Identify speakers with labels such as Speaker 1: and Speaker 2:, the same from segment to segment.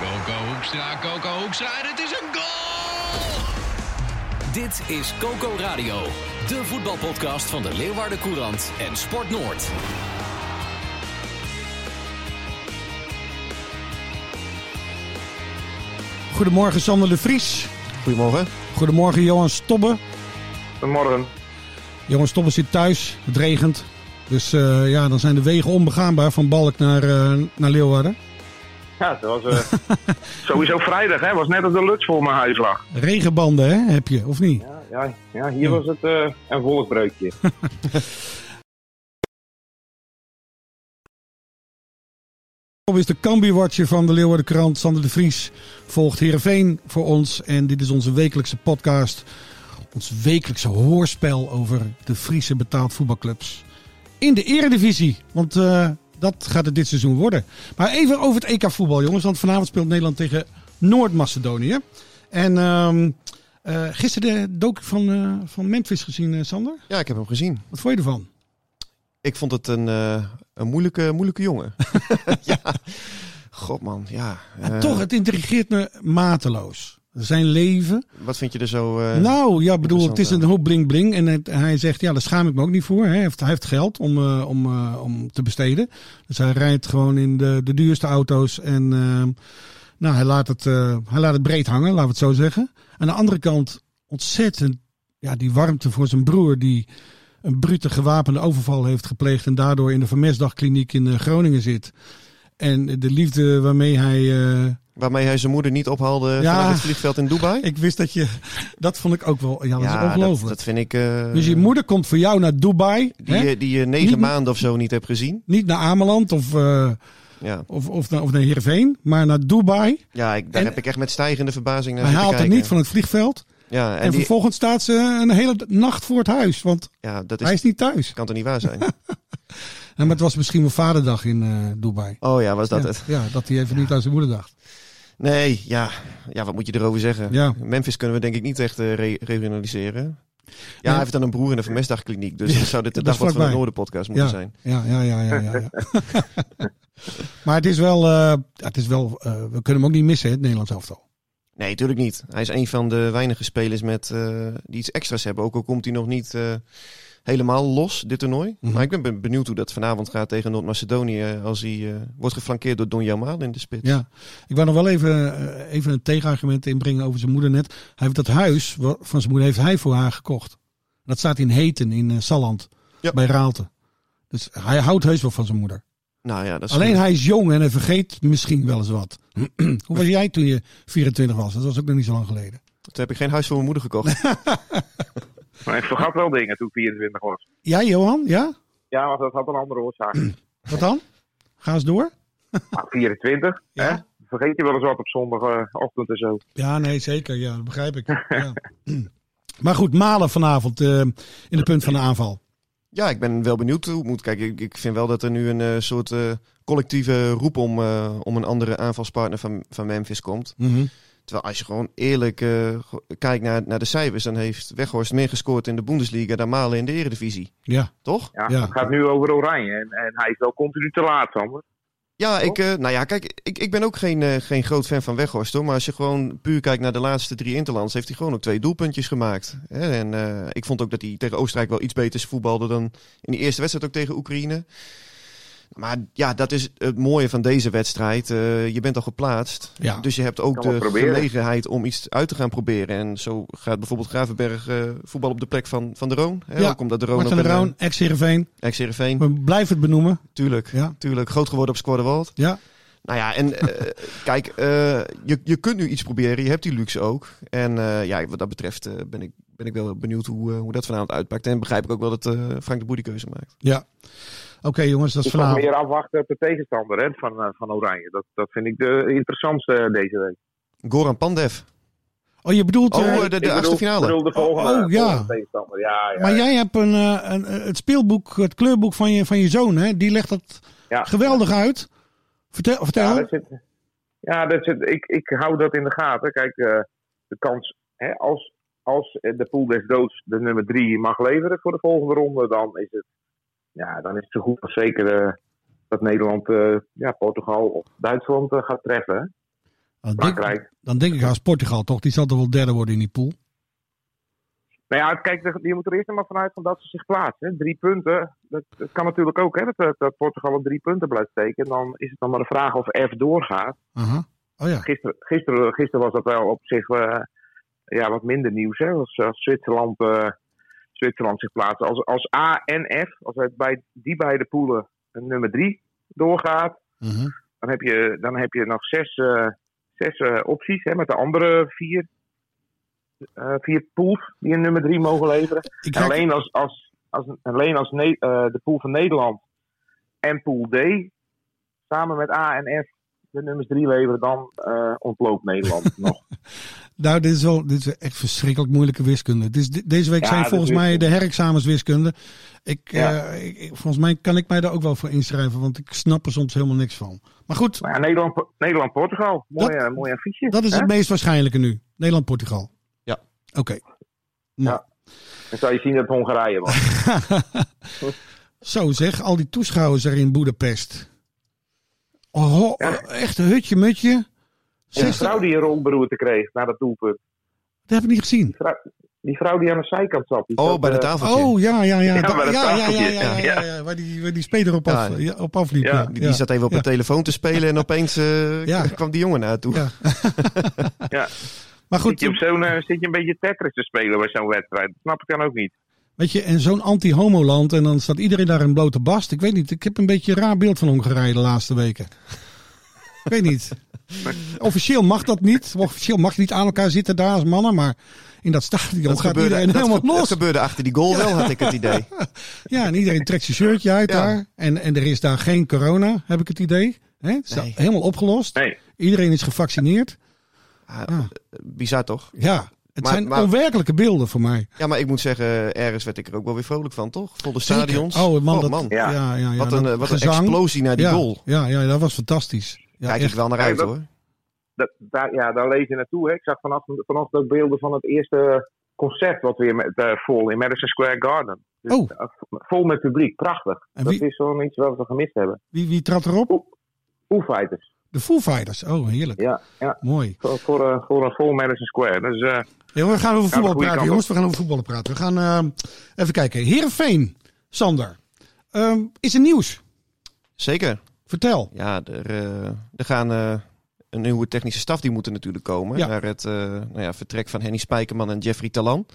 Speaker 1: Coco Hoekstra, Coco Hoekstra, en het is een goal!
Speaker 2: Dit is Coco Radio, de voetbalpodcast van de Leeuwarden Courant en Sport Noord.
Speaker 3: Goedemorgen Sander de Vries.
Speaker 4: Goedemorgen.
Speaker 3: Goedemorgen Johan Stobbe.
Speaker 5: Goedemorgen.
Speaker 3: Johan Stobbe zit thuis, het regent. Dus eh, ja, dan zijn de wegen onbegaanbaar van Balk naar, eh, naar Leeuwarden.
Speaker 5: Ja, het was eh, sowieso vrijdag, hè? was net als de luts voor mijn huis lag.
Speaker 3: Regenbanden hè, heb je, of niet?
Speaker 5: Ja, ja, ja hier was het eh, een volkbreukje.
Speaker 3: Stobbe is de Cambuurwatcher van de Leeuwarden Krant. Sander de Vries volgt Heerenveen voor ons. En dit is onze wekelijkse podcast. Ons wekelijkse hoorspel over de Friese betaald voetbalclubs. In de eredivisie, want eh, dat gaat het dit seizoen worden. Maar even over het EK voetbal jongens. Want vanavond speelt Nederland tegen Noord-Macedonië. En ehm, eh, gisteren de docu van, eh, van Memphis gezien, eh, Sander.
Speaker 4: Ja, ik heb hem gezien.
Speaker 3: Wat vond je ervan?
Speaker 4: Ik vond het een, eh, een moeilijke, moeilijke jongen. ja. God man, ja.
Speaker 3: En
Speaker 4: Eh,
Speaker 3: toch, het intrigeert me mateloos. Zijn leven,
Speaker 4: Wat vind je er zo... eh,
Speaker 3: nou ja, bedoel, het is een
Speaker 4: interessant,
Speaker 3: hoop bling bling. En het- hij zegt, ja, daar schaam ik me ook niet voor. Hè. Hij, heeft, hij heeft geld om, eh, om, eh, om te besteden. Dus hij rijdt gewoon in de, de duurste auto's. En ehm, nou, hij, laat het, eh, hij laat het breed hangen, laten we het zo zeggen. Aan de andere kant, ontzettend ja, die warmte voor zijn broer... die een brute gewapende overval heeft gepleegd... en daardoor in de Vermesdagkliniek in eh, Groningen zit... En de liefde waarmee hij eh,
Speaker 4: Waarmee hij zijn moeder niet ophaalde
Speaker 3: Ja.
Speaker 4: vanaf het vliegveld in Dubai.
Speaker 3: Ik wist dat je. Dat vond ik ook wel. Ja, dat is
Speaker 4: dat,
Speaker 3: ongelooflijk.
Speaker 4: dat vind ik... eh,
Speaker 3: Dus je moeder komt voor jou naar Dubai.
Speaker 4: Die, eh,
Speaker 3: hè?
Speaker 4: je- die je negen
Speaker 3: Niet-
Speaker 4: maanden of zo niet hebt gezien.
Speaker 3: Niet naar Ameland of, eh,
Speaker 4: Ja,
Speaker 3: of, of, naar, of naar Heerenveen, maar naar Dubai.
Speaker 4: ja ik, daar
Speaker 3: En-
Speaker 4: heb ik echt met stijgende verbazing naar
Speaker 3: Hij
Speaker 4: zitten
Speaker 3: haalt het
Speaker 4: kijken.
Speaker 3: niet van het vliegveld.
Speaker 4: Ja, en,
Speaker 3: En,
Speaker 4: die,
Speaker 3: vervolgens staat ze een hele nacht voor het huis, want
Speaker 4: ja, dat
Speaker 3: hij
Speaker 4: is,
Speaker 3: is niet thuis.
Speaker 4: kan toch niet waar zijn?
Speaker 3: En, maar het was misschien wel vaderdag in eh, Dubai.
Speaker 4: Oh ja, was dat
Speaker 3: ja,
Speaker 4: het?
Speaker 3: ja, dat hij even niet aan zijn moeder dacht.
Speaker 4: Nee, ja. Ja, wat moet je erover zeggen?
Speaker 3: Ja.
Speaker 4: Memphis kunnen we denk ik niet echt eh, re- regionaliseren. Ja,
Speaker 3: Nee.
Speaker 4: hij heeft dan een broer in de vermestdagkliniek. Dus dan zou dit de
Speaker 3: dat
Speaker 4: dag
Speaker 3: is
Speaker 4: wat van de
Speaker 3: vlakbij.
Speaker 4: Noorderpodcast moeten
Speaker 3: Ja,
Speaker 4: zijn.
Speaker 3: ja, ja, ja, ja. ja, ja. maar het is wel, eh, het is wel eh, we kunnen hem ook niet missen, hè, het Nederlands elftal.
Speaker 4: Nee, tuurlijk niet. Hij is een van de weinige spelers met, eh, die iets extra's hebben. Ook al komt hij nog niet eh, helemaal los, dit toernooi.
Speaker 3: Mhm.
Speaker 4: Maar ik ben ben benieuwd hoe dat vanavond gaat tegen Noord-Macedonië. Als hij eh, wordt geflankeerd door Don Jamal in de spits.
Speaker 3: Ja, ik wou nog wel even, eh, even een tegenargument inbrengen over zijn moeder net. Hij heeft dat huis wa- van zijn moeder heeft hij voor haar gekocht. Dat staat in Heten in eh, Salland,
Speaker 4: Ja.
Speaker 3: bij Raalte. Dus hij houdt heus wel van zijn moeder.
Speaker 4: Nou ja, dat is
Speaker 3: Alleen
Speaker 4: goed.
Speaker 3: hij is jong en hij vergeet misschien wel eens wat. Hoe was jij toen je 24 was? Dat was ook nog niet zo lang geleden.
Speaker 4: Toen heb ik geen huis voor mijn moeder gekocht.
Speaker 5: Maar ik vergat wel dingen toen ik 24 was.
Speaker 3: Jij, Johan? Ja?
Speaker 5: Ja, maar dat had een andere oorzaak.
Speaker 3: Wat dan? Ga eens door.
Speaker 5: Maar 24, Ah, hè?
Speaker 3: Ja.
Speaker 5: vergeet je wel eens wat op zondagochtend en zo.
Speaker 3: Ja, nee, zeker. Ja, dat begrijp ik. Ja. maar goed, Malen vanavond eh, in de punt van de aanval.
Speaker 4: ja, ik ben wel benieuwd hoe het moet. Kijk, ik, ik vind wel dat er nu een eh, soort eh, collectieve roep om, eh, om een andere aanvalspartner van, van Memphis komt. Terwijl als je gewoon eerlijk eh, go- kijkt naar, naar de cijfers, dan heeft Weghorst meer gescoord in de Bundesliga dan Malen in de Eredivisie.
Speaker 3: Ja.
Speaker 4: Toch?
Speaker 5: Ja,
Speaker 3: Ja.
Speaker 5: Het gaat nu over Oranje en, en hij is wel continu te laat, Sander.
Speaker 4: Ja, ik, eh, nou ja, kijk, ik, ik ben ook geen, eh, geen groot fan van Weghorst hoor. Maar als je gewoon puur kijkt naar de laatste drie Interlands, heeft hij gewoon ook twee doelpuntjes gemaakt. Hè? En eh, ik vond ook dat hij tegen Oostenrijk wel iets beters voetbalde dan in die eerste wedstrijd ook tegen Oekraïne. Maar ja, dat is het mooie van deze wedstrijd. Eh, je bent al geplaatst.
Speaker 3: Ja.
Speaker 4: Dus je hebt ook
Speaker 5: Kan wel
Speaker 4: de
Speaker 5: proberen.
Speaker 4: gelegenheid om iets uit te gaan proberen. En zo gaat bijvoorbeeld Gravenberg eh, voetbal op de plek van, van de Roon. Hè?
Speaker 3: Ja,
Speaker 4: Ook omdat de Roon
Speaker 3: Martin
Speaker 4: ook
Speaker 3: de
Speaker 4: een,
Speaker 3: Roon, ex-Heerenveen.
Speaker 4: eh, ex-Heerenveen.
Speaker 3: We blijven het benoemen.
Speaker 4: Tuurlijk,
Speaker 3: Ja.
Speaker 4: tuurlijk. Groot geworden op Squadderwald.
Speaker 3: Ja.
Speaker 4: Nou ja, en eh, kijk, eh, je, je kunt nu iets proberen. Je hebt die luxe ook. En eh, ja, wat dat betreft eh, ben, ik, ben ik wel benieuwd hoe, eh, hoe dat vanavond uitpakt. En begrijp ik ook wel dat eh, Frank de Boer die keuze maakt.
Speaker 3: Ja. jongens, dat is
Speaker 5: Ik moet
Speaker 3: vanavond.
Speaker 5: meer afwachten op de tegenstander hè, van, eh, van Oranje. Dat, dat vind ik de interessantste eh, deze week.
Speaker 4: Goran Pandev.
Speaker 3: Oh, je bedoelt...
Speaker 4: Oh,
Speaker 3: eh,
Speaker 4: eh, de,
Speaker 5: Ik
Speaker 4: de achtste
Speaker 5: bedoel-
Speaker 4: finale.
Speaker 5: bedoel de volgende,
Speaker 3: Oh, ja.
Speaker 5: volgende tegenstander. Ja, ja.
Speaker 3: maar jij hebt een, eh, een, eh, het speelboek, het kleurboek van je, van je zoon, hè? Die legt dat
Speaker 5: ja.
Speaker 3: geweldig uit. Vertel. vertel.
Speaker 5: Ja, dat zit, ja dat zit, ik, ik hou dat in de gaten. Kijk, eh, de kans, hè, als, als eh, de pool des doods de nummer drie mag leveren voor de volgende ronde, dan is het, ja, dan is het zo goed als zeker eh, dat Nederland eh, ja, Portugal of Duitsland eh, gaat treffen. hè.
Speaker 3: Dan denk-
Speaker 5: Frankrijk.
Speaker 3: Oh, dan denk ik als Portugal toch. Die zal toch wel derde worden in die pool.
Speaker 5: Nou ja, kijk, de- je moet er eerst maar vanuit van dat ze zich plaatsen. hè. Drie punten, dat, dat kan natuurlijk ook, hè, dat, eh, dat Portugal op drie punten blijft steken. Dan is het dan maar de vraag of F doorgaat.
Speaker 3: Aha. Oh ja.
Speaker 5: gisteren, gisteren, gisteren was dat wel op zich eh, ja, wat minder nieuws. Hè? Als, als Zwitserland, eh, Zwitserland zich plaatsen. Als, als A en F, als het bij die beide poelen een nummer 3 doorgaat,
Speaker 3: Mhm.
Speaker 5: dan heb je, dan heb je nog zes, eh, zes eh, opties hè, met de andere vier, eh, vier pools die een nummer 3 mogen leveren.
Speaker 3: Ik
Speaker 5: En
Speaker 3: kijk-
Speaker 5: alleen als, als, als, alleen als Ne- eh, de pool van Nederland en pool D samen met A en F de nummers 3 leveren, dan eh, ontloopt Nederland nog.
Speaker 3: Nou, dit is, wel, dit is echt verschrikkelijk moeilijke wiskunde. Het is, de- deze week
Speaker 5: Ja,
Speaker 3: zijn
Speaker 5: dat
Speaker 3: volgens
Speaker 5: is
Speaker 3: mij de
Speaker 5: wiskunde.
Speaker 3: herexamens wiskunde. Ik,
Speaker 5: Ja.
Speaker 3: eh, ik- ik- volgens mij kan ik mij daar ook wel voor inschrijven, want ik snap er soms helemaal niks van. Maar goed,
Speaker 5: Maar ja, Nederland, Nederland Portugal, mooi,
Speaker 3: Dat-
Speaker 5: eh, mooi affiche.
Speaker 3: dat is
Speaker 5: hè?
Speaker 3: het meest waarschijnlijke nu. Nederland-Portugal.
Speaker 4: Ja.
Speaker 3: Oké. Nou.
Speaker 5: Dan zou je zien dat het Hongarije was.
Speaker 3: Zo zeg, al die toeschouwers er in Boedapest. Oh, ho- echt een hutje mutje.
Speaker 5: En die
Speaker 3: Zestig-
Speaker 5: vrouw die een rolberoerte kreeg na dat doelpunt.
Speaker 3: Dat heb ik niet gezien.
Speaker 5: Die vrouw die aan de zijkant zat. die
Speaker 4: Oh,
Speaker 5: zat,
Speaker 4: bij de
Speaker 5: eh,
Speaker 4: tafeltje.
Speaker 3: Oh, ja, ja, ja.
Speaker 5: Ja,
Speaker 3: Da- Ja,
Speaker 5: bij dat
Speaker 3: ja, ja, ja,
Speaker 5: tafeltje.
Speaker 3: ja, ja, ja. Waar die, waar die speler op,
Speaker 4: Ja.
Speaker 3: af, ja, op afliep.
Speaker 5: Ja,
Speaker 3: Ja,
Speaker 4: Die,
Speaker 3: ja.
Speaker 4: die zat even op
Speaker 3: Ja.
Speaker 4: de telefoon te spelen en opeens eh,
Speaker 3: Ja.
Speaker 4: kwam die jongen naartoe.
Speaker 3: Ja.
Speaker 5: Ja.
Speaker 3: Maar
Speaker 5: Zit
Speaker 3: goed,
Speaker 5: je, op zo'n, eh, zit je een beetje Tetris te spelen bij zo'n wedstrijd? Dat snap ik dan ook niet.
Speaker 3: Weet je, en zo'n anti-homoland en dan staat iedereen daar in blote bast. Ik weet niet, ik heb een beetje een raar beeld van Hongarije de laatste weken. ik weet niet. Officieel mag dat niet. Officieel mag je niet aan elkaar zitten daar als mannen, maar in dat stadion
Speaker 4: Dat
Speaker 3: gaat iedereen
Speaker 4: dat
Speaker 3: helemaal
Speaker 4: ge- dat
Speaker 3: los.
Speaker 4: gebeurde achter die goal wel, had ik het idee.
Speaker 3: Ja, en iedereen trekt zijn shirtje uit
Speaker 4: Ja.
Speaker 3: daar. En, en er is daar geen corona, heb ik het idee. Hè? Is dat
Speaker 4: Nee.
Speaker 3: Helemaal opgelost.
Speaker 5: Nee.
Speaker 3: Iedereen is gevaccineerd.
Speaker 4: Bizar toch?
Speaker 3: Ja, het
Speaker 4: Maar-
Speaker 3: zijn
Speaker 4: maar-
Speaker 3: onwerkelijke beelden voor mij.
Speaker 4: Ja, maar ik moet zeggen, ergens werd ik er ook wel weer vrolijk van, toch? Volle
Speaker 3: Zeker.
Speaker 4: stadions.
Speaker 3: Oh man,
Speaker 4: Oh,
Speaker 3: dat,
Speaker 4: man.
Speaker 3: Ja, ja, ja,
Speaker 4: Wat een,
Speaker 3: dat
Speaker 4: eh, wat een
Speaker 3: gezang.
Speaker 4: explosie naar die
Speaker 3: ja,
Speaker 4: goal.
Speaker 3: Ja, ja, dat was fantastisch. Ja,
Speaker 4: Kijk
Speaker 3: echt.
Speaker 4: ik wel naar
Speaker 5: Ja,
Speaker 4: uit
Speaker 5: dat-
Speaker 4: hoor.
Speaker 5: dat, daar, ja, daar lees je naartoe. Hè. Ik zag vanaf, vanochtend ook beelden van het eerste concert wat weer met, eh, vol in Madison Square Garden. Dus,
Speaker 3: Oh.
Speaker 5: eh, vol met publiek, prachtig.
Speaker 3: En
Speaker 5: dat
Speaker 3: wie-
Speaker 5: is zo'n iets wat we gemist hebben.
Speaker 3: Wie, wie trad erop?
Speaker 5: Foo Fighters,
Speaker 3: De Foo Fighters. Oh, heerlijk.
Speaker 5: ja. ja.
Speaker 3: Mooi.
Speaker 5: Voor, voor, eh, voor een vol Madison Square. Dus, eh,
Speaker 3: Ja, we gaan over
Speaker 5: Ja, de
Speaker 3: voetbal
Speaker 5: goede
Speaker 3: praten,
Speaker 5: kant
Speaker 3: jongens. We gaan over voetballen praten. We gaan eh, even kijken. Heerenveen, Sander. Ehm, is er nieuws?
Speaker 4: Zeker.
Speaker 3: Vertel.
Speaker 4: Ja, er, eh, er gaan eh, een nieuwe technische staf, die moeten natuurlijk komen.
Speaker 3: Ja.
Speaker 4: Naar het eh, nou ja, vertrek van Henny Spijkerman en Jeffrey Talan.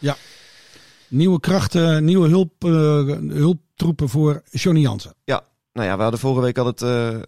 Speaker 3: Nieuwe krachten, nieuwe hulp, eh, hulptroepen voor Johnny Jansen.
Speaker 4: Nou ja, we hadden vorige week al het eh, eh,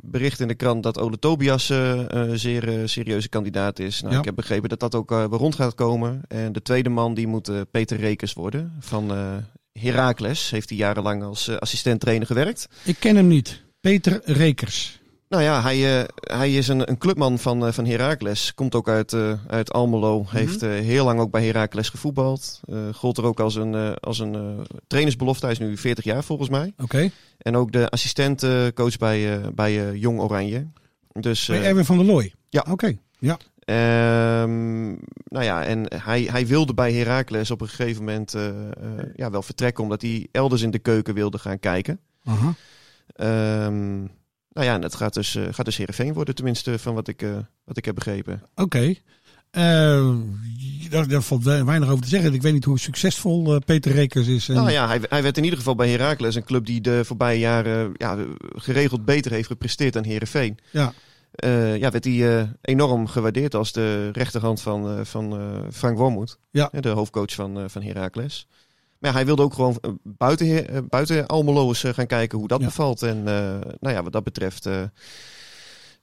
Speaker 4: bericht in de krant dat Ole Tobias eh, eh, zeer eh, serieuze kandidaat is. Nou,
Speaker 3: Ja.
Speaker 4: Ik heb begrepen dat dat ook eh, weer rond gaat komen. En de tweede man die moet eh, Peter Rekers worden van eh Heracles. Heeft hij jarenlang als eh, assistent-trainer gewerkt.
Speaker 3: Ik ken hem niet. Peter Rekers.
Speaker 4: Nou ja, hij, eh, hij is een, een clubman van, eh, van Heracles. Komt ook uit, eh, uit Almelo. Heeft eh, heel lang ook bij Heracles gevoetbald. Eh gold er ook als een, eh, als een eh, trainersbelofte. Hij is nu 40 jaar volgens mij.
Speaker 3: Oké.
Speaker 4: En ook de assistentcoach bij, eh, bij eh, Jong Oranje. Dus,
Speaker 3: Bij
Speaker 4: eh,
Speaker 3: Erwin van der Looy.
Speaker 4: Ja.
Speaker 3: Oké. Ja.
Speaker 4: ehm, nou ja, en hij, hij wilde bij Heracles op een gegeven moment eh, eh, ja, wel vertrekken. Omdat hij elders in de keuken wilde gaan kijken.
Speaker 3: Aha.
Speaker 4: Ehm, nou ja, en dat gaat dus, eh gaat dus Heerenveen worden, tenminste, van wat ik, eh, wat ik heb begrepen.
Speaker 3: Oké. Eh, daar, daar valt we- weinig over te zeggen. Ik weet niet hoe succesvol eh, Peter Rekers is. En,
Speaker 4: Nou ja, hij, hij werd in ieder geval bij Heracles een club die de voorbije jaren ja, geregeld beter heeft gepresteerd dan Heerenveen.
Speaker 3: Ja.
Speaker 4: Eh, ja, werd hij eh, enorm gewaardeerd als de rechterhand van, eh, van eh, Frank Wormoed,
Speaker 3: Ja.
Speaker 4: de hoofdcoach van, eh, van Heracles. Maar ja, hij wilde ook gewoon eh, buiten, Her- eh, buiten Almelo eens eh, gaan kijken hoe dat
Speaker 3: Ja.
Speaker 4: bevalt. En eh, nou ja, wat dat betreft eh,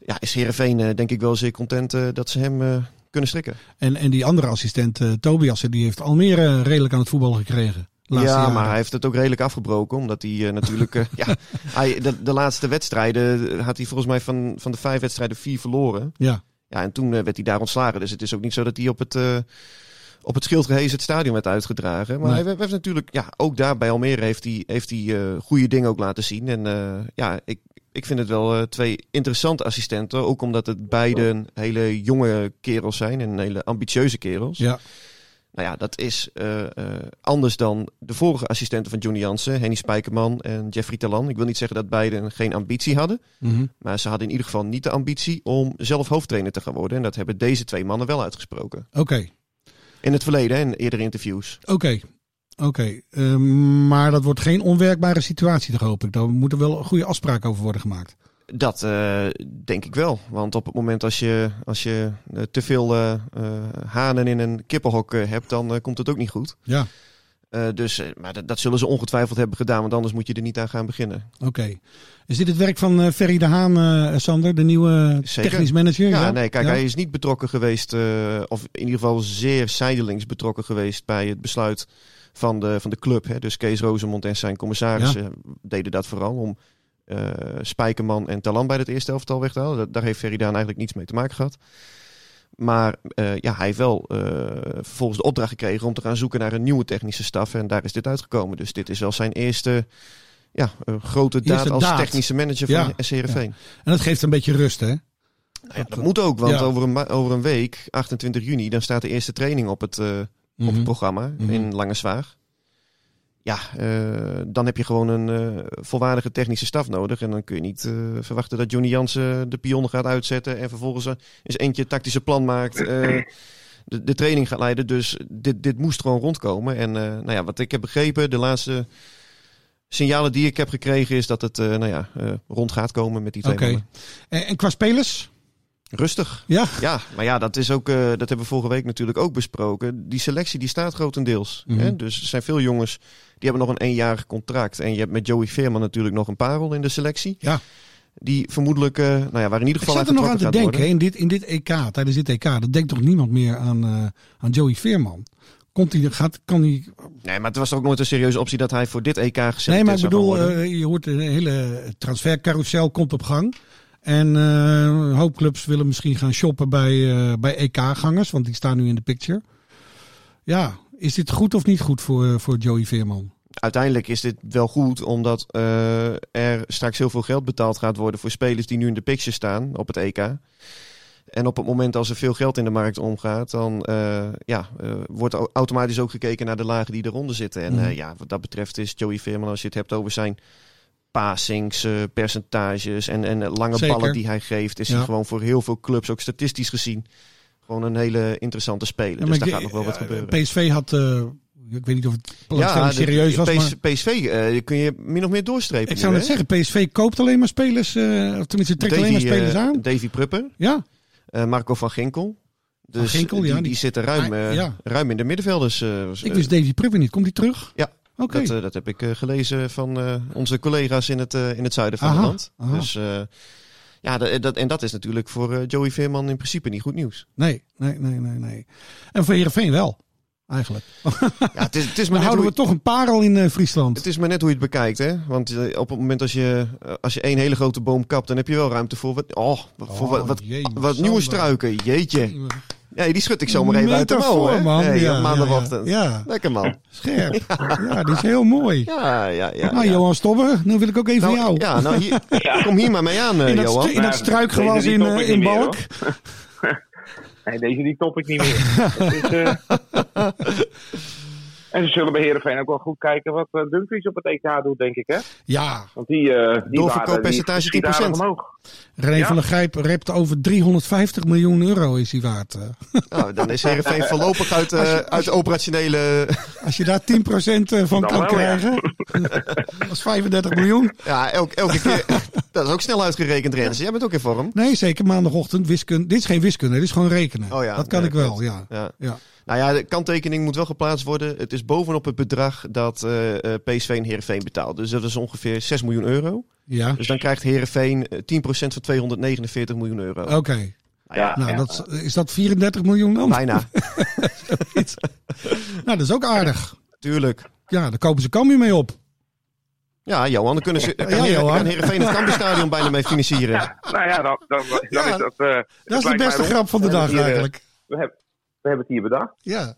Speaker 4: ja, is Heerenveen eh, denk ik wel zeer content eh, dat ze hem eh, kunnen strikken.
Speaker 3: En, en die andere assistent, eh Tobias, die heeft Almere redelijk aan eh, het voetbal gekregen. laatste
Speaker 4: ja,
Speaker 3: jaren.
Speaker 4: maar hij heeft het ook redelijk afgebroken. Omdat hij eh, natuurlijk. eh, ja, hij, de, de laatste wedstrijden eh, had hij volgens mij van, van de vijf wedstrijden vier verloren.
Speaker 3: Ja.
Speaker 4: Ja, en toen eh, werd hij daar ontslagen. Dus het is ook niet zo dat hij op het, eh, op het schild gehezen het stadion werd uitgedragen. Maar
Speaker 3: Nee.
Speaker 4: hij we- heeft natuurlijk, ja, ook daar bij Almere heeft hij, heeft hij eh, goede dingen ook laten zien. En eh, ja, ik, ik vind het wel eh, twee interessante assistenten. Ook omdat het beide hele jonge kerels zijn en hele ambitieuze kerels.
Speaker 3: Ja,
Speaker 4: Nou ja, dat is eh, eh, anders dan de vorige assistenten van Johnny Jansen, Henny Spijkerman en Jeffrey Talan. Ik wil niet zeggen dat beiden geen ambitie hadden.
Speaker 3: Mhm.
Speaker 4: Maar ze hadden in ieder geval niet de ambitie om zelf hoofdtrainer te gaan worden. En dat hebben deze twee mannen wel uitgesproken.
Speaker 3: oké.
Speaker 4: In het verleden en eerdere interviews.
Speaker 3: Oké. Oké, Eh, maar dat wordt geen onwerkbare situatie, toch hoop ik. Daar moet er wel een goede afspraak over worden gemaakt.
Speaker 4: Dat eh, denk ik wel. Want op het moment als je, als je eh, te veel eh, eh, hanen in een kippenhok eh, hebt, dan eh, komt het ook niet goed.
Speaker 3: Ja,
Speaker 4: Eh, dus, eh, maar dat, dat zullen ze ongetwijfeld hebben gedaan, want anders moet je er niet aan gaan beginnen.
Speaker 3: oké. Is dit het werk van eh, Ferry de Haan, eh, Sander, de nieuwe eh,
Speaker 4: Zeker.
Speaker 3: technisch manager?
Speaker 4: Ja, nee, kijk,
Speaker 3: Ja?
Speaker 4: hij is niet betrokken geweest, eh, of in ieder geval zeer zijdelings betrokken geweest bij het besluit van de, van de club. Hè. Dus Kees Rozemond en zijn commissarissen deden dat vooral om eh, Spijkerman en Talan bij het eerste elftal weg te halen. Dat- daar heeft Feridaan eigenlijk niets mee te maken gehad. Maar eh, ja, hij heeft wel eh, vervolgens de opdracht gekregen om te gaan zoeken naar een nieuwe technische staf. En daar is dit uitgekomen. Dus dit is wel zijn eerste ja, eh, grote daad
Speaker 3: Eerste
Speaker 4: als
Speaker 3: daad.
Speaker 4: technische manager van
Speaker 3: Ja,
Speaker 4: SCRV.
Speaker 3: En dat geeft een beetje rust, hè?
Speaker 4: Nou ja, dat moet ook, want
Speaker 3: eh, Ja.
Speaker 4: over, een, ma- over een week, 28 juni, dan staat de eerste training op het, eh, op
Speaker 3: Mhm.
Speaker 4: het programma
Speaker 3: Mhm.
Speaker 4: in Langenswaag. Ja, eh, dan heb je gewoon een eh, volwaardige technische staf nodig. En dan kun je niet eh, verwachten dat Johnny Jansen de pion gaat uitzetten. En vervolgens eh, eens eentje het tactische plan maakt. eh, de, de training gaat leiden. Dus dit, dit moest gewoon rondkomen. En eh, nou ja, wat ik heb begrepen, de laatste signalen die ik heb gekregen... is dat het eh, nou ja, eh, rond gaat komen met die twee
Speaker 3: Oké.
Speaker 4: mannen.
Speaker 3: En, en qua spelers?
Speaker 4: Rustig.
Speaker 3: Ja,
Speaker 4: Ja, maar ja, dat, is ook, eh, dat hebben we vorige week natuurlijk ook besproken. Die selectie die staat grotendeels.
Speaker 3: Mhm.
Speaker 4: Hè? Dus er zijn veel jongens die hebben nog een eenjarig contract. En je hebt met Joey Veerman natuurlijk nog een parel in de selectie.
Speaker 3: Ja.
Speaker 4: Die vermoedelijk, eh, nou ja, waar in ieder
Speaker 3: ik
Speaker 4: geval
Speaker 3: zat er nog aan te
Speaker 4: getrokken gaat
Speaker 3: denken, hè, in dit, in dit EK, tijdens dit EK, dat denkt toch niemand meer aan, eh, aan Joey Veerman? Komt hij, gaat, kan hij...
Speaker 4: worden. Nee, maar het was ook nooit een serieuze optie dat hij voor dit EK geselecteerd
Speaker 3: Nee, maar ik
Speaker 4: zou
Speaker 3: bedoel,
Speaker 4: gaan worden.
Speaker 3: eh, je hoort de hele transfercarousel komt op gang. En eh, een hoop clubs willen misschien gaan shoppen bij, eh, bij EK-gangers, want die staan nu in de picture. Ja, is dit goed of niet goed voor, voor Joey Veerman?
Speaker 4: Uiteindelijk is dit wel goed, omdat eh, er straks heel veel geld betaald gaat worden voor spelers die nu in de picture staan op het EK. En op het moment als er veel geld in de markt omgaat, dan eh, ja, eh, wordt au- automatisch ook gekeken naar de lagen die eronder zitten. En
Speaker 3: Mhm.
Speaker 4: eh, ja, wat dat betreft is Joey Veerman, als je het hebt over zijn passings, eh, percentages en, en eh, lange
Speaker 3: Zeker.
Speaker 4: ballen die hij geeft, is
Speaker 3: Ja.
Speaker 4: hij gewoon voor heel veel clubs, ook statistisch gezien, gewoon een hele interessante speler.
Speaker 3: Ja,
Speaker 4: dus
Speaker 3: maar
Speaker 4: daar
Speaker 3: ik- eh,
Speaker 4: gaat nog wel wat
Speaker 3: ja,
Speaker 4: gebeuren.
Speaker 3: PSV had, eh, ik weet niet of het ja,
Speaker 4: de-
Speaker 3: serieus was, maar...
Speaker 4: PS- PSV eh, kun je min of meer doorstrepen.
Speaker 3: Ik zou net zeggen, PSV koopt alleen maar spelers, eh, of tenminste trekt alleen maar spelers
Speaker 4: eh,
Speaker 3: aan.
Speaker 4: Davy Prupper,
Speaker 3: Ja,
Speaker 4: eh, Marco van Ginkel. Dus
Speaker 3: Van Ginkel,
Speaker 4: die,
Speaker 3: ja,
Speaker 4: die
Speaker 3: die-
Speaker 4: zitten ruim,
Speaker 3: Ah,
Speaker 4: eh,
Speaker 3: ja.
Speaker 4: ruim in de middenvelders. eh, was-
Speaker 3: ik wist Davy Prupper niet. Komt hij terug?
Speaker 4: Ja,
Speaker 3: Oké.
Speaker 4: dat, eh, dat heb ik eh, gelezen van eh, onze collega's in het, eh, in het zuiden van
Speaker 3: Aha,
Speaker 4: het land.
Speaker 3: aha.
Speaker 4: Dus eh, ja, dat, dat- en dat is natuurlijk voor eh, Joey Veerman in principe niet goed nieuws.
Speaker 3: Nee, nee, nee, nee, nee. En voor Heerenveen wel, eigenlijk.
Speaker 4: Ja, het is,
Speaker 3: Maar
Speaker 4: het is maar net
Speaker 3: houden
Speaker 4: hoe
Speaker 3: we toch een parel in eh, Friesland.
Speaker 4: Het is maar net hoe je het bekijkt, hè? Want eh, op het moment als je, eh, als je één hele grote boom kapt, dan heb je wel ruimte voor wat, oh, wat- voor wat, wat,
Speaker 3: jee, maar
Speaker 4: wat
Speaker 3: zo
Speaker 4: nieuwe
Speaker 3: dan.
Speaker 4: struiken. Jeetje. Nee, die schud ik zomaar even uit de mouw,
Speaker 3: Metafoor,
Speaker 4: hè?
Speaker 3: man.
Speaker 4: Hey,
Speaker 3: Ja,
Speaker 4: op
Speaker 3: ja,
Speaker 4: maandagochtend.
Speaker 3: Ja, ja.
Speaker 4: Lekker, man.
Speaker 3: scherp. Ja, die is heel mooi.
Speaker 4: Ja, ja, ja.
Speaker 3: nou,
Speaker 4: ja.
Speaker 3: Johan Stobbe, nu wil ik ook even
Speaker 4: Nou,
Speaker 3: jou.
Speaker 4: Ja, nou, hier, kom hier maar mee aan, eh,
Speaker 3: in, dat,
Speaker 4: Johan.
Speaker 3: stru- in dat
Speaker 5: Nou,
Speaker 3: struikgewas
Speaker 5: deze
Speaker 3: in,
Speaker 5: top ik
Speaker 3: eh,
Speaker 5: niet
Speaker 3: in
Speaker 5: meer,
Speaker 3: Balk.
Speaker 5: Nee, deze die top ik niet meer. Het is, eh, En ze zullen bij Heerenveen ook wel goed kijken wat eh, Dumfries op het EK doet, denk ik. Hè?
Speaker 3: Ja,
Speaker 5: Want die, eh die
Speaker 4: Doorverkooppercentage
Speaker 5: waren- die- die schieten
Speaker 4: 10%.
Speaker 5: aardig omhoog.
Speaker 3: René
Speaker 5: Ja.
Speaker 3: van der Grijp rept over 350 miljoen euro is hij waard. eh.
Speaker 4: Nou, dan is Heerenveen voorlopig uit, eh, uit de operationele...
Speaker 3: Als je daar 10% van
Speaker 5: Dan
Speaker 3: kan
Speaker 5: wel, ja.
Speaker 3: krijgen, dat is 35 miljoen.
Speaker 4: Ja, elk, elke keer... Dat is ook snel uitgerekend, Rens. Jij bent ook in vorm.
Speaker 3: Nee, zeker maandagochtend wiskunde. Dit is geen wiskunde, dit is gewoon rekenen.
Speaker 4: Oh ja,
Speaker 3: dat kan
Speaker 4: nee,
Speaker 3: ik wel,
Speaker 4: klopt.
Speaker 3: ja.
Speaker 4: Ja.
Speaker 3: ja.
Speaker 4: Nou ja, de kanttekening moet wel geplaatst worden. Het is bovenop het bedrag dat eh, eh, PSV en Heerenveen betaalt. Dus dat is ongeveer 6 miljoen euro.
Speaker 3: Ja,
Speaker 4: Dus dan krijgt Heerenveen eh, 10% van 249 miljoen euro.
Speaker 3: oké.
Speaker 5: Ja,
Speaker 3: Nou,
Speaker 5: ja.
Speaker 3: dat, is- is dat 34 miljoen dan?
Speaker 4: Bijna,
Speaker 3: nou, dat is ook aardig.
Speaker 4: tuurlijk.
Speaker 3: ja, daar kopen ze Cambuur mee op.
Speaker 4: Ja, Johan, dan kunnen ze. Kan,
Speaker 3: Ja,
Speaker 4: Heer-
Speaker 3: Johan.
Speaker 4: kan Heerenveen het Cambuurstadion bijna mee financieren.
Speaker 5: Nou ja, dan, dan, dan
Speaker 3: Ja,
Speaker 5: is dat...
Speaker 3: Dat
Speaker 5: eh, lijkt
Speaker 3: is de
Speaker 5: mij
Speaker 3: beste
Speaker 5: rond.
Speaker 3: grap van de
Speaker 5: We hebben
Speaker 3: dag
Speaker 5: hier, eh,
Speaker 3: eigenlijk.
Speaker 5: We hebben, we hebben het hier bedacht.
Speaker 3: Ja. Dat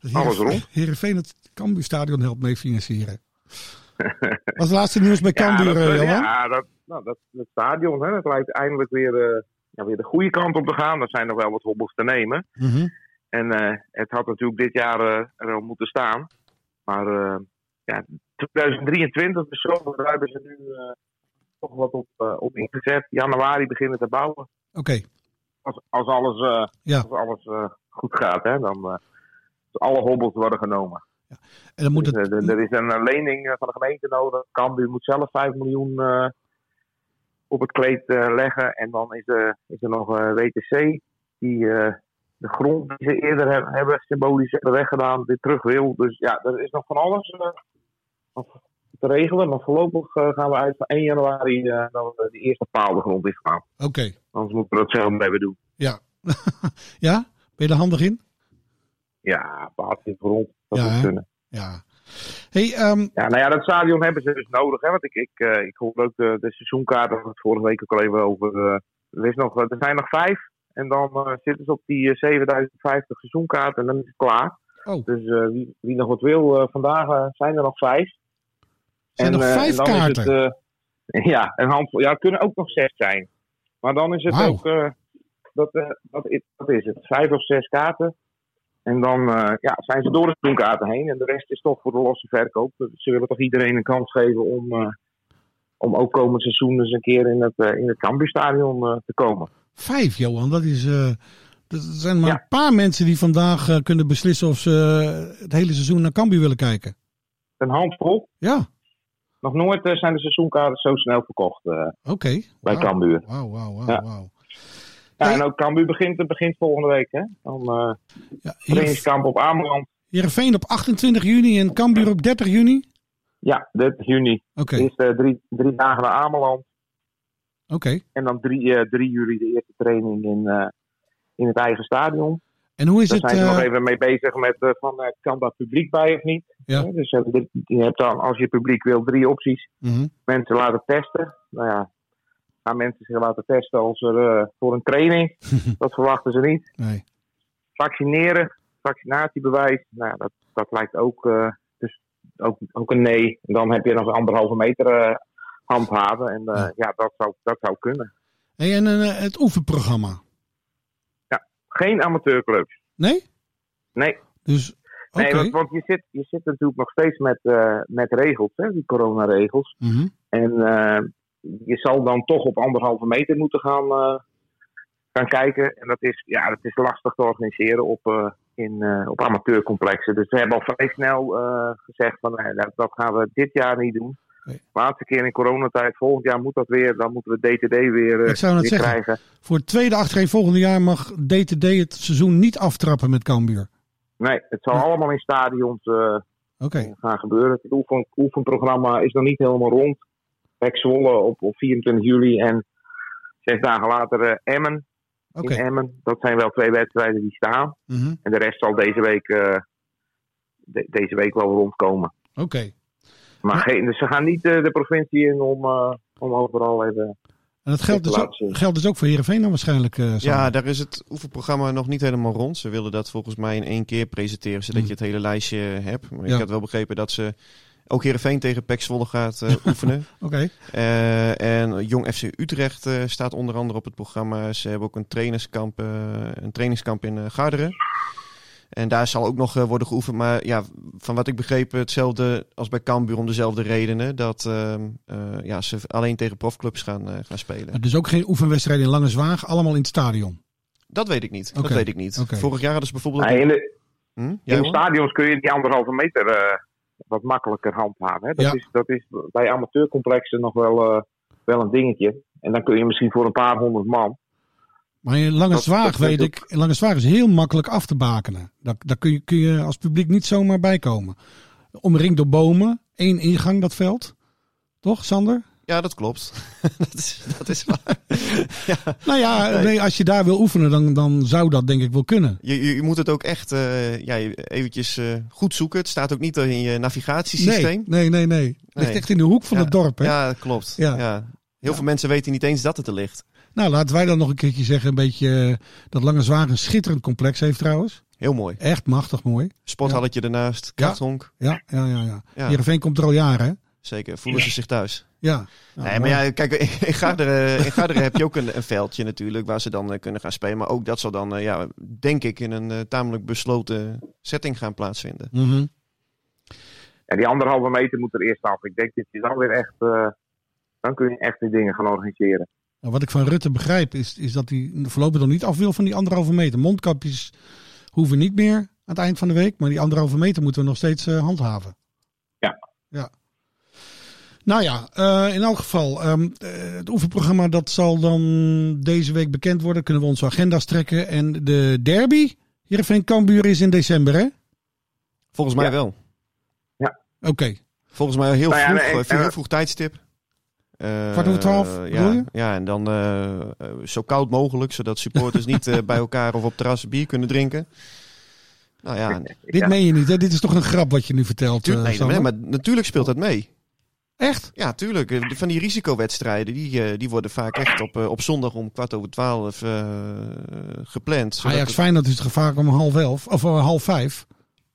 Speaker 5: Alles
Speaker 3: Heerenveen-
Speaker 5: rond.
Speaker 3: Heerenveen het Cambuurstadion helpt mee financieren. Wat is het laatste nieuws bij
Speaker 5: Ja,
Speaker 3: Cambuur,
Speaker 5: dat,
Speaker 3: eh,
Speaker 5: eh,
Speaker 3: Johan?
Speaker 5: ja, dat, nou, dat, dat stadion, hè, dat lijkt eindelijk weer, eh, ja, weer de goede kant op te gaan. Er zijn nog wel wat hobbels te nemen.
Speaker 3: Mhm.
Speaker 5: En eh, het had natuurlijk dit jaar eh, er al moeten staan. Maar eh, ja, 2023, dus zo, daar hebben ze nu eh, toch wat op, eh, op ingezet. Januari beginnen te bouwen.
Speaker 3: Oké,
Speaker 5: Als, als alles, eh,
Speaker 3: Ja.
Speaker 5: als alles eh, goed gaat, hè, dan... eh, als alle hobbels worden genomen.
Speaker 3: en dan moet
Speaker 5: Dus,
Speaker 3: het...
Speaker 5: eh, er er is een eh, lening eh, van de gemeente nodig. Cambuur moet zelf 5 miljoen eh, op het kleed eh, leggen. En dan is, eh, is er nog eh, WTC, die eh, de grond die ze eerder he- hebben, symbolisch hebben weggedaan, weer terug wil. Dus ja, er is nog van alles eh, nog te regelen. Maar voorlopig eh, gaan we uit van 1 januari eh, dat we de eerste paal de grond in gaan.
Speaker 3: Oké,
Speaker 5: Anders moeten we dat zelf blijven doen.
Speaker 3: ja. ja? Ben je er handig in?
Speaker 5: Ja, behaald in de grond. Dat
Speaker 3: Ja,
Speaker 5: moet
Speaker 3: hè?
Speaker 5: kunnen.
Speaker 3: Ja. hey, ehm,
Speaker 5: Ja, nou ja, dat stadion hebben ze dus nodig. Hè? Want ik, ik, eh, ik hoorde ook de, de seizoenkaart, daar hadden we het vorige week ook al even over. eh, er, is nog, er zijn nog vijf. En dan eh, zitten ze op die eh, 7050 seizoenkaart en dan is het klaar.
Speaker 3: Oh.
Speaker 5: Dus eh, wie, wie nog wat wil, eh, vandaag eh, zijn er nog vijf.
Speaker 3: zijn er nog
Speaker 5: eh,
Speaker 3: vijf
Speaker 5: dan is
Speaker 3: kaarten?
Speaker 5: het, eh, ja, een handvol. Ja, het kunnen ook nog zes zijn. Maar dan is het
Speaker 3: Wauw.
Speaker 5: ook. eh, dat, eh, dat, is, dat is het. Vijf of zes kaarten. En dan eh, ja, zijn ze door de seizoenkaarten heen. En de rest is toch voor de losse verkoop. Dus Ze willen toch iedereen een kans geven om, eh, om ook komend seizoen eens een keer in het, eh, in het Cambuurstadion eh, te komen.
Speaker 3: Vijf, Johan. Dat is. eh, dat zijn maar
Speaker 5: Ja.
Speaker 3: een paar mensen die vandaag eh, kunnen beslissen of ze eh, het hele seizoen naar Cambuur willen kijken.
Speaker 5: Een handvol.
Speaker 3: Ja,
Speaker 5: Nog nooit eh, zijn de seizoenkaarten zo snel verkocht eh,
Speaker 3: oké.
Speaker 5: bij
Speaker 3: Wauw.
Speaker 5: Cambuur.
Speaker 3: Wauw, wauw, wauw.
Speaker 5: Ja.
Speaker 3: wauw.
Speaker 5: Ja,
Speaker 3: Hey.
Speaker 5: en ook Cambuur begint, begint volgende week. Hè? Dan eh
Speaker 3: Ja, Heer-
Speaker 5: trainingskamp op Ameland.
Speaker 3: Heerenveen op 28 juni en Cambuur op 30 juni? Oké,
Speaker 5: Ja, 30 juni.
Speaker 3: oké.
Speaker 5: Eerst eh, drie, drie dagen naar Ameland. En dan 3 juli de eerste training in, eh, in het eigen stadion.
Speaker 3: En hoe is
Speaker 5: Daar
Speaker 3: het.
Speaker 5: zijn ze
Speaker 3: eh,
Speaker 5: nog even mee bezig met eh, van eh, kan daar publiek bij of niet.
Speaker 3: Ja.
Speaker 5: Hè, Dus eh, dit- je hebt dan, als je publiek wil, drie opties.
Speaker 3: mhm.
Speaker 5: Mensen laten testen. Nou ja, gaan mensen zich laten testen als er, eh, voor een training? dat verwachten ze niet.
Speaker 3: Nee.
Speaker 5: Vaccineren, vaccinatiebewijs. Nou, dat, dat lijkt ook, eh, dus ook, ook een nee. En dan heb je nog anderhalve meter eh, handhaven. En eh,
Speaker 3: Ja.
Speaker 5: ja, dat zou, dat zou kunnen.
Speaker 3: Hey, en eh, het oefenprogramma?
Speaker 5: geen amateurclubs.
Speaker 3: Nee?
Speaker 5: Nee.
Speaker 3: Dus. Oké.
Speaker 5: Nee, want, want je, zit, je zit natuurlijk nog steeds met, eh, met regels, hè, die coronaregels.
Speaker 3: Mhm.
Speaker 5: En eh, je zal dan toch op anderhalve meter moeten gaan, eh, gaan kijken. En dat is, ja, dat is lastig te organiseren op, eh, in, eh, op amateurcomplexen. Dus we hebben al vrij snel eh, gezegd van nee, dat, dat gaan we dit jaar niet doen.
Speaker 3: Nee.
Speaker 5: Laatste keer in coronatijd, volgend jaar moet dat weer. Dan moeten we DTD weer, eh,
Speaker 3: Ik zou net
Speaker 5: weer
Speaker 3: zeggen.
Speaker 5: krijgen.
Speaker 3: Voor het tweede achtereen volgende jaar mag DTD het seizoen niet aftrappen met Cambuur.
Speaker 5: Nee, het zal
Speaker 3: Ja.
Speaker 5: allemaal in stadions eh,
Speaker 3: Oké.
Speaker 5: gaan gebeuren. Het oefen, oefenprogramma is nog niet helemaal rond. Pek Zwolle op, op 24 juli en zes dagen later eh, Emmen.
Speaker 3: Oké.
Speaker 5: In Emmen. Dat zijn wel twee wedstrijden die staan.
Speaker 3: Mhm.
Speaker 5: En de rest zal deze week, eh, de- deze week wel rondkomen.
Speaker 3: Oké.
Speaker 5: Maar geen, dus ze gaan niet eh, de provincie in om, eh, om overal even...
Speaker 3: En dat geldt
Speaker 5: Even
Speaker 3: dus, ook,
Speaker 5: laten zien.
Speaker 3: geldt dus ook voor Heerenveen dan waarschijnlijk. eh, Sander?
Speaker 4: Ja, daar is het oefenprogramma nog niet helemaal rond. Ze willen dat volgens mij in één keer presenteren, zodat
Speaker 3: Hm.
Speaker 4: je het hele lijstje hebt. Maar
Speaker 3: Ja.
Speaker 4: ik had wel begrepen dat ze ook Heerenveen tegen PEC Zwolle gaat eh, oefenen.
Speaker 3: Oké.
Speaker 4: Eh, en Jong FC Utrecht eh, staat onder andere op het programma. Ze hebben ook een trainingskamp, eh, een trainingskamp in eh, Garderen. En daar zal ook nog eh, worden geoefend. Maar ja, van wat ik begreep, hetzelfde als bij Cambuur om dezelfde redenen. Dat ehm, eh, ja, ze alleen tegen profclubs gaan, eh, gaan spelen.
Speaker 3: Dus ook geen oefenwedstrijden in Lange Zwaag, allemaal in het stadion.
Speaker 4: Dat weet ik niet.
Speaker 3: Oké.
Speaker 4: Dat weet ik niet.
Speaker 3: Oké.
Speaker 4: Vorig jaar hadden ze bijvoorbeeld... ook-
Speaker 5: Nee, in de,
Speaker 4: Hm? Ja,
Speaker 5: in de
Speaker 4: Johan?
Speaker 5: stadions kun je die anderhalve meter eh, wat makkelijker handhaven. Hè? Dat,
Speaker 3: Ja.
Speaker 5: is, dat is bij amateurcomplexen nog wel, eh, wel een dingetje. En dan kun je misschien voor een paar honderd man...
Speaker 3: Maar in Lange
Speaker 5: Dat-
Speaker 3: Zwaag
Speaker 5: dat weet
Speaker 3: weet ik, in Lange Zwaag is heel makkelijk af te bakenen. Daar, daar kun, je, kun je als publiek niet zomaar bij komen. Omringd door bomen, één ingang dat veld. Toch, Sander?
Speaker 4: Ja, dat klopt. dat, is, dat is waar. ja.
Speaker 3: Nou ja, nee.
Speaker 4: Nee.
Speaker 3: als je daar wil oefenen, dan, dan zou dat denk ik wel kunnen.
Speaker 4: je, je, je moet het ook echt eh, ja, je- eventjes eh, goed zoeken. Het staat ook niet in je navigatiesysteem.
Speaker 3: Nee, nee, nee. nee. Het ligt
Speaker 4: Nee.
Speaker 3: echt in de hoek van
Speaker 4: Ja.
Speaker 3: het dorp. Hè?
Speaker 4: Ja, klopt.
Speaker 3: Ja.
Speaker 4: Ja. Heel veel mensen weten niet eens dat het er ligt.
Speaker 3: Nou, laten wij dan nog een keertje zeggen. Een beetje eh, dat Lange Zwaar een schitterend complex heeft trouwens.
Speaker 4: Heel mooi.
Speaker 3: Echt machtig mooi.
Speaker 4: Sporthalletje ernaast, krachthonk.
Speaker 3: Ja, ja, ja. ja.
Speaker 4: Ja.
Speaker 3: Heerenveen komt er al jaren, hè?
Speaker 4: Zeker, voelen ze zich thuis.
Speaker 3: Ja. Nou,
Speaker 4: nee, maar
Speaker 3: mooi.
Speaker 4: ja, kijk, in Garderen, in Garderen heb je ook een, een veldje natuurlijk waar ze dan eh, kunnen gaan spelen. Maar ook dat zal dan, eh, ja, denk ik, in een eh, tamelijk besloten setting gaan plaatsvinden.
Speaker 3: Mhm.
Speaker 5: En die anderhalve meter moet er eerst af. Ik denk dat je dan weer echt. eh, dan kun je echt die dingen gaan organiseren.
Speaker 3: Nou, wat ik van Rutte begrijp is, is dat hij voorlopig nog niet af wil van die anderhalve meter. Mondkapjes hoeven niet meer aan het eind van de week. Maar die anderhalve meter moeten we nog steeds eh, handhaven.
Speaker 5: Ja.
Speaker 3: ja. Nou ja, eh, in elk geval. ehm, eh, het oefenprogramma dat zal dan deze week bekend worden. Kunnen we onze agenda's trekken. En de derby, Heerenveen Cambuur is in december hè?
Speaker 4: Volgens mij
Speaker 5: Ja.
Speaker 4: wel.
Speaker 3: Oké,
Speaker 4: Volgens mij heel
Speaker 5: Nou ja,
Speaker 4: vroeg,
Speaker 5: en-
Speaker 4: eh,
Speaker 5: en-
Speaker 4: heel vroeg tijdstip. Eh,
Speaker 3: Kwart over twaalf,
Speaker 4: ja,
Speaker 3: bedoel je?
Speaker 4: Ja, en dan eh, eh, zo koud mogelijk, zodat supporters niet eh, bij elkaar of op terras bier kunnen drinken. Nou ja,
Speaker 3: dit meen je niet hè? Dit is toch een grap wat je nu vertelt. eh,
Speaker 4: tuurlijk, nee,
Speaker 3: Sander?
Speaker 4: maar, maar natuurlijk speelt dat mee.
Speaker 3: Echt?
Speaker 4: Ja, tuurlijk. Eh, Van die risicowedstrijden, die, eh, die worden vaak echt op, eh, op zondag om kwart over twaalf eh, gepland. zodat
Speaker 3: Ajax
Speaker 4: het-
Speaker 3: Feyenoord is het gevaar om half elf of eh, half vijf.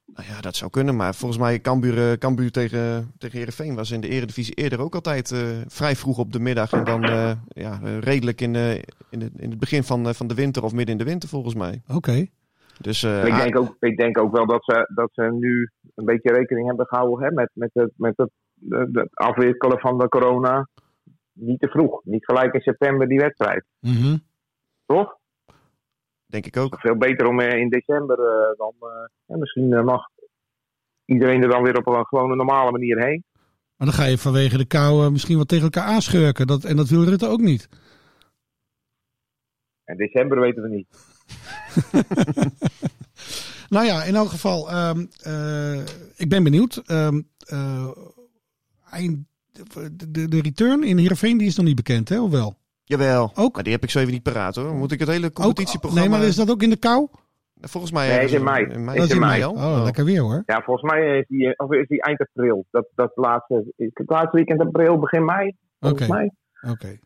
Speaker 4: nou ja, dat zou kunnen, maar volgens mij Cambuur, eh, Cambuur tegen, tegen Heerenveen was in de eredivisie eerder ook altijd eh, vrij vroeg op de middag. En dan eh, ja, eh, redelijk in, eh, in, het, in het begin van, eh, van de winter of midden in de winter volgens mij.
Speaker 3: Oké.
Speaker 4: Dus eh,
Speaker 5: ik,
Speaker 4: ah,
Speaker 5: denk ook, ik denk ook wel dat ze, dat ze nu een beetje rekening hebben gehouden hè, met, met het, met het de, de afwikkelen van de corona. Niet te vroeg. Niet gelijk in september die wedstrijd.
Speaker 3: Mhm.
Speaker 5: Toch?
Speaker 4: denk ik ook.
Speaker 5: Veel beter om eh, in december eh, dan. eh, ja, misschien eh, mag iedereen er dan weer op een gewone normale manier heen.
Speaker 3: Maar dan ga je vanwege de kou eh, misschien wat tegen elkaar aanschurken. Dat, en dat wil Rutte ook niet.
Speaker 5: En december weten we niet.
Speaker 3: Nou ja, in elk geval, ehm, eh, ik ben benieuwd. Ehm, eh, eind- de, de- de return in Heerenveen die is nog niet bekend, hè? Of wel?
Speaker 4: Jawel,
Speaker 3: Ook?
Speaker 4: Maar die heb ik zo even niet paraat hoor. Moet ik het hele
Speaker 3: Ook,
Speaker 4: competitieprogramma...
Speaker 3: nee, maar is dat ook in de kou?
Speaker 4: Volgens mij...
Speaker 5: Nee,
Speaker 4: hebben
Speaker 5: is in
Speaker 4: ze-
Speaker 5: mei. Is
Speaker 3: dat
Speaker 5: in mei.
Speaker 4: al.
Speaker 3: Oh,
Speaker 4: Oh.
Speaker 3: lekker weer hoor.
Speaker 5: Ja, volgens mij is die, eh, of is die eind april. Dat, dat laatste, het laatste weekend april, begin mei.
Speaker 3: Oké,
Speaker 5: Volgens mij.
Speaker 3: oké.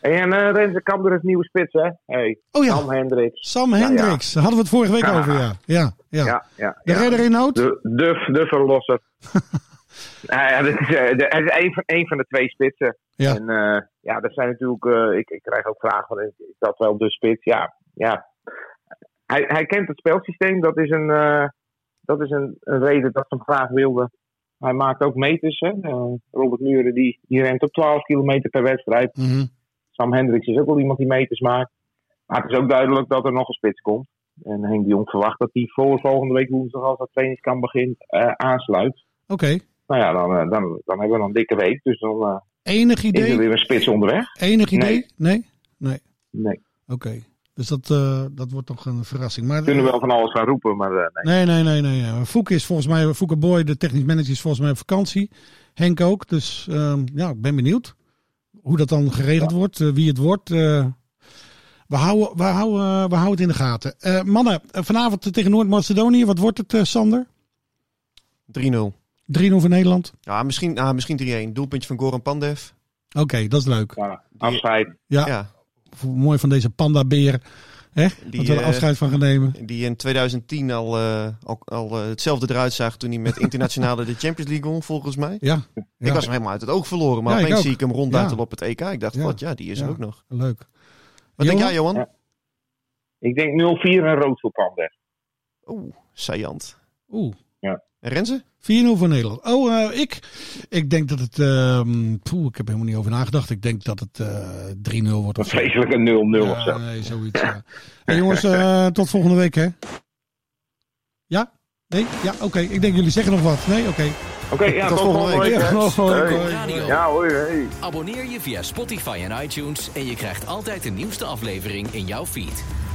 Speaker 5: En eh Renze Kamper is nieuwe spits, hè? Hey,
Speaker 3: Oh ja,
Speaker 5: Sam Hendricks.
Speaker 3: Sam
Speaker 5: Ja, ja.
Speaker 3: Hendricks. Daar hadden we het vorige week
Speaker 5: Ja.
Speaker 3: over, ja. Ja, ja.
Speaker 5: Ja, ja.
Speaker 3: De
Speaker 5: ja.
Speaker 3: redder in nood?
Speaker 5: De, de, de verlosser. nou ja, dat is, eh, de- hij is een, van- een van de twee spitsen.
Speaker 3: Ja.
Speaker 5: En eh, ja, dat zijn natuurlijk. eh, ik, ik krijg ook vragen: van, is is dat wel de spits? Ja. ja. Hij, hij kent het spelsysteem. Dat is, een, eh, dat is een, een reden dat ze hem graag wilden. Hij maakt ook meters. Hè? Eh, Robert Muren die, die rent op 12 kilometer per wedstrijd.
Speaker 3: Mhm.
Speaker 5: Sam Hendricks is ook wel iemand die meters maakt. Maar het is ook duidelijk dat er nog een spits komt. En Henk de Jong verwacht dat hij voor volgende week woensdag, als dat trainingskamp begint, eh, aansluit.
Speaker 3: Oké.
Speaker 5: Nou ja, dan, eh, dan, dan hebben we nog een dikke week. Dus dan eh,
Speaker 3: Enig
Speaker 5: is er
Speaker 3: idee?
Speaker 5: weer een spits onderweg.
Speaker 3: Enig idee? Nee?
Speaker 5: Nee. Nee,
Speaker 3: Oké. Dus dat, eh, dat wordt toch een verrassing. Maar, eh,
Speaker 5: we kunnen wel van alles gaan roepen, maar eh,
Speaker 3: Nee,
Speaker 5: nee.
Speaker 3: nee, nee, nee. nee. Fouk is volgens mij, Fouk Boy, de technisch manager, is volgens mij op vakantie. Henk ook. Dus ehm, ja, ik ben benieuwd hoe dat dan geregeld wordt, eh, wie het wordt. eh. we, houden, we, houden, eh, we houden het in de gaten. Eh, mannen, eh, vanavond tegen Noord-Macedonië. Wat wordt het, eh, Sander?
Speaker 4: 3-0.
Speaker 3: 3-0 voor Nederland?
Speaker 4: Ja, misschien, ah, misschien 3-1. Doelpuntje van Goran Pandev.
Speaker 3: Oké, dat is leuk.
Speaker 5: Ja, afscheid.
Speaker 3: Ja,
Speaker 4: ja.
Speaker 3: mooi van deze pandabeer. Hè? dat we er
Speaker 4: eh,
Speaker 3: afscheid van gaan nemen.
Speaker 4: Die in 2010 al, eh, al, al eh, hetzelfde eruit zag toen hij met internationale de Champions League won, volgens mij.
Speaker 3: Ja,
Speaker 4: Ik
Speaker 3: Ja.
Speaker 4: was hem helemaal uit het oog verloren, maar
Speaker 3: Ja, ik
Speaker 4: opeens
Speaker 3: ook.
Speaker 4: zie ik hem rondduitelen
Speaker 3: Ja.
Speaker 4: op het EK. Ik dacht,
Speaker 3: Ja.
Speaker 4: wat ja, die is
Speaker 3: Ja.
Speaker 4: er ook nog.
Speaker 3: leuk.
Speaker 4: Wat denk
Speaker 3: Johan?
Speaker 4: jij, Johan?
Speaker 5: Ja. Ik denk 0-4 en rood voor Pander.
Speaker 4: Oeh, saillant.
Speaker 3: Oeh.
Speaker 4: En Renze?
Speaker 3: 4-0 voor Nederland. Oh, eh, ik, ik denk dat het. ehm poeh, ik heb er helemaal niet over nagedacht. Ik denk dat het eh 3-0 wordt.
Speaker 5: Een
Speaker 3: Of zo.
Speaker 5: vreselijke 0-0 of
Speaker 3: Ja,
Speaker 5: zo.
Speaker 3: nee, zoiets. Ja. Hey, jongens, eh, tot volgende week, hè? Ja? Nee? Ja, oké. Ik denk jullie zeggen nog wat. Nee? Oké.
Speaker 5: Oké, ja,
Speaker 4: Tot
Speaker 5: tot
Speaker 4: volgende
Speaker 5: volgende week. hè.
Speaker 3: Oh, hoi, hoi.
Speaker 2: Radio.
Speaker 5: Ja, hoi, hey.
Speaker 2: Abonneer je via Spotify en iTunes en je krijgt altijd de nieuwste aflevering in jouw feed.